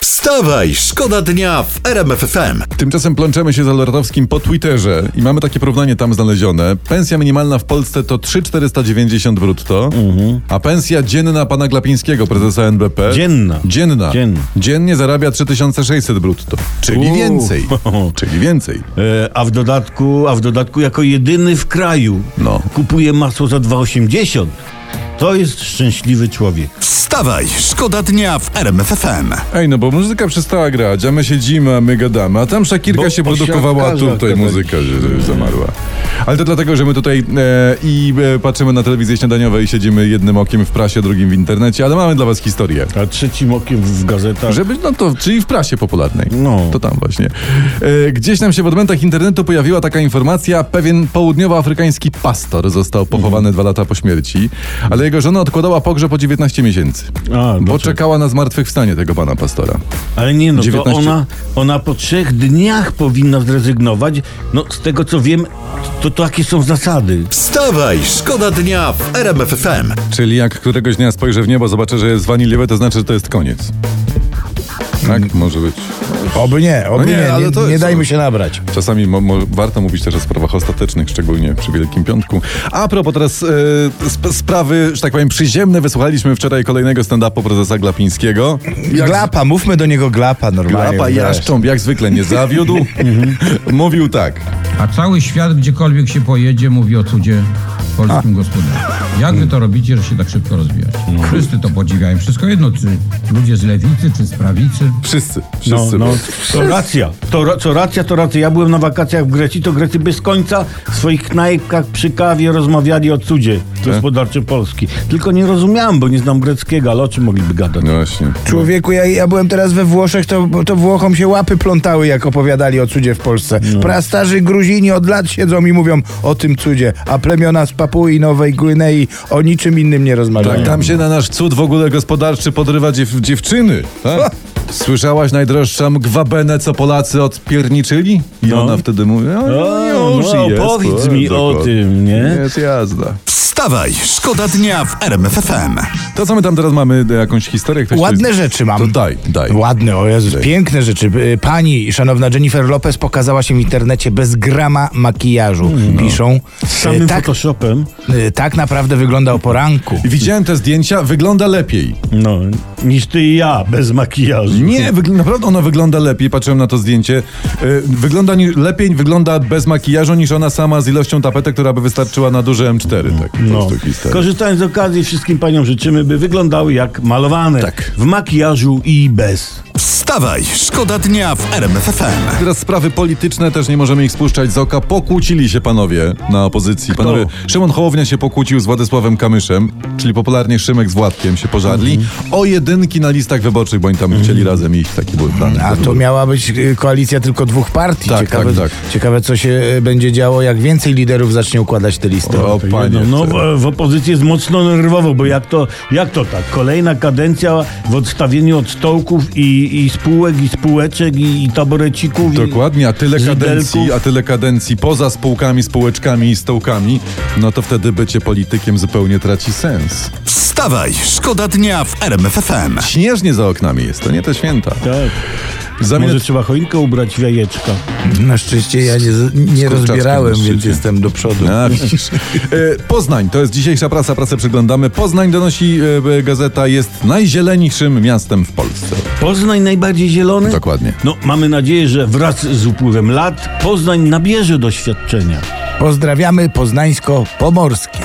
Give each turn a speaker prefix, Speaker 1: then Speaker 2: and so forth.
Speaker 1: Wstawaj, szkoda dnia w RMFFM.
Speaker 2: Tymczasem plączemy się z Alertowskim po Twitterze i mamy takie porównanie tam znalezione. Pensja minimalna w Polsce to 3490 brutto, a pensja dzienna pana Glapińskiego, prezesa NBP...
Speaker 3: Dzienna.
Speaker 2: Dzienna.
Speaker 3: Dzienna.
Speaker 2: Dziennie zarabia 3600 brutto, czyli
Speaker 3: Uuu.
Speaker 2: więcej. Czyli więcej.
Speaker 3: E, A w dodatku, a w dodatku jako jedyny w kraju
Speaker 2: No.
Speaker 3: kupuje masło za 2,80. To jest szczęśliwy człowiek.
Speaker 1: Wstawaj, szkoda dnia w RMFFM.
Speaker 2: Ej, no bo muzyka przestała grać, a my siedzimy, a my gadamy, a tam Szakirka
Speaker 3: Bo
Speaker 2: się
Speaker 3: o
Speaker 2: produkowała, a
Speaker 3: siatkarzach
Speaker 2: tutaj
Speaker 3: gadać.
Speaker 2: muzyka się zamarła. Ale to dlatego, że my tutaj e, i e, patrzymy na telewizję śniadaniowe i siedzimy jednym okiem w prasie, drugim w internecie, ale mamy dla was historię.
Speaker 3: A trzecim okiem w gazetach.
Speaker 2: Żeby, no to, czyli w prasie popularnej.
Speaker 3: No.
Speaker 2: To tam właśnie. E, gdzieś nam się w odmętach internetu pojawiła taka informacja, pewien południowoafrykański pastor został
Speaker 3: Mhm.
Speaker 2: pochowany dwa lata po śmierci, ale jego żona odkładała pogrzeb o 19 miesięcy.
Speaker 3: A, no.
Speaker 2: Bo
Speaker 3: dlaczego?
Speaker 2: czekała na zmartwychwstanie tego pana pastora.
Speaker 3: Ale nie no, to
Speaker 2: 19.
Speaker 3: ona, ona po trzech dniach powinna zrezygnować. No z tego co wiem, to, to jakie są zasady.
Speaker 1: Wstawaj, szkoda dnia w RMFFM.
Speaker 2: Czyli jak któregoś dnia spojrzę w niebo, zobaczę, że jest waniliowe, to znaczy, że to jest koniec. Tak może być.
Speaker 4: Oby nie, oby
Speaker 2: No nie,
Speaker 4: nie, nie,
Speaker 2: ale
Speaker 4: nie,
Speaker 2: to jest-
Speaker 4: dajmy się nabrać.
Speaker 2: Czasami mo, mo, warto mówić też o sprawach ostatecznych, szczególnie przy Wielkim Piątku. A propos teraz e, sp- sprawy, że tak powiem, przyziemne. Wysłuchaliśmy wczoraj kolejnego stand-upu prezesa Glapińskiego.
Speaker 4: Glapa, mówmy do niego glapa normalnie.
Speaker 2: Glapa
Speaker 4: wreszcie.
Speaker 2: Jaszcząb jak zwykle nie zawiódł.
Speaker 4: Mhm.
Speaker 2: Mówił tak.
Speaker 5: A cały świat, gdziekolwiek się pojedzie, mówi o cudzie polskim gospodarstw. Jak wy to robicie, że się tak szybko rozwijacie? Wszyscy to podziwiają. Wszystko jedno, czy ludzie z lewicy, czy z prawicy.
Speaker 2: Wszyscy,
Speaker 3: No,
Speaker 2: wszyscy.
Speaker 3: no, to racja. To, ra- co racja, to racja. Ja byłem na wakacjach w Grecji, to Grecy bez końca w swoich knajpkach przy kawie rozmawiali o cudzie gospodarczym
Speaker 2: Tak.
Speaker 3: Polski. Tylko nie rozumiałem, bo nie znam greckiego, ale o czym mogliby gadać?
Speaker 2: No właśnie.
Speaker 4: Człowieku, ja, ja byłem teraz we Włoszech, to, to Włochom się łapy plątały, jak opowiadali o cudzie w Polsce. Prastarzy Gruzini od lat siedzą i mówią o tym cudzie, a plemiona z Papui Nowej Gwinei o niczym innym nie rozmawiają.
Speaker 2: Tak, tam się na nasz cud w ogóle gospodarczy podrywa dziew- dziewczyny. Tak? Słyszałaś najdroższa mgwabenę, co Polacy odpierniczyli? I
Speaker 3: No.
Speaker 2: ona wtedy mówi, a,
Speaker 3: O,
Speaker 2: już
Speaker 3: no,
Speaker 2: jest,
Speaker 3: powiedz
Speaker 2: powiem
Speaker 3: mi o
Speaker 2: dokładnie.
Speaker 3: tym, nie?
Speaker 2: Jest jazda.
Speaker 1: Wstawaj, szkoda dnia w RMFFM.
Speaker 2: To co my tam teraz mamy, e, jakąś historię? Ktoś
Speaker 4: Ładne
Speaker 2: tu-
Speaker 4: rzeczy mam.
Speaker 2: To daj, daj.
Speaker 4: Ładne, o Jezus, piękne rzeczy. Y, Pani, szanowna Jennifer Lopez, pokazała się w internecie bez grama makijażu. Piszą.
Speaker 2: E,
Speaker 3: Z samym
Speaker 4: Y, tak,
Speaker 3: Photoshopem.
Speaker 4: y, tak naprawdę wygląda o poranku.
Speaker 2: I Widziałem te zdjęcia, wygląda lepiej.
Speaker 3: No, niż ty i ja, bez makijażu.
Speaker 2: Nie, wygl- naprawdę ona wygląda lepiej, patrzyłem na to zdjęcie. E, Wygląda ni- lepiej, wygląda bez makijażu niż ona sama z ilością tapetek, która by wystarczyła na duże M4. Tak, no.
Speaker 3: No.
Speaker 2: po prostu historia.
Speaker 3: Korzystając z okazji, wszystkim paniom życzymy, by wyglądały jak malowane.
Speaker 2: Tak.
Speaker 3: W makijażu i bez.
Speaker 1: Wstawaj, szkoda dnia w RMFFM.
Speaker 2: Teraz sprawy polityczne też nie możemy ich spuszczać z oka. Pokłócili się panowie na opozycji. Panowie, Szymon Hołownia się pokłócił z Władysławem Kamyszem, czyli popularnie Szymek z Władkiem się pożarli o jedynki na listach wyborczych, bo oni tam chcieli razem iść, taki był plan.
Speaker 4: A to miała być y, koalicja tylko dwóch partii.
Speaker 2: Tak,
Speaker 4: ciekawe,
Speaker 2: tak,
Speaker 4: ciekawe, co się y, będzie działo, jak więcej liderów zacznie układać te listy.
Speaker 2: O panie,
Speaker 3: No,
Speaker 2: chcę.
Speaker 3: w, w opozycji jest mocno nerwowo, bo jak to, jak to tak? Kolejna kadencja w odstawieniu od stołków i, i spółek, i spółeczek, i, i taborecików.
Speaker 2: Dokładnie, a tyle
Speaker 3: Żydelków.
Speaker 2: kadencji, a tyle kadencji poza spółkami, spółeczkami i stołkami, no to wtedy bycie politykiem zupełnie traci sens.
Speaker 1: Wstawaj, szkoda dnia w RMFFM.
Speaker 2: Śnieżnie za oknami jest, to nie te święta.
Speaker 3: I, tak.
Speaker 2: Za
Speaker 3: Może
Speaker 2: minut-
Speaker 3: trzeba choinkę ubrać w jajeczka.
Speaker 4: Na szczęście ja nie, z- nie rozbierałem,
Speaker 2: na
Speaker 4: więc
Speaker 2: szczycie.
Speaker 4: jestem do przodu.
Speaker 2: A, No, widzisz. E, Poznań, to jest dzisiejsza prasa, prasę przeglądamy. Poznań donosi e, gazeta, jest najzieleńszym miastem w Polsce.
Speaker 3: Poznań najbardziej zielony?
Speaker 2: Dokładnie.
Speaker 3: No, mamy nadzieję, że wraz z upływem lat Poznań nabierze doświadczenia.
Speaker 4: Pozdrawiamy Poznańsko-Pomorski.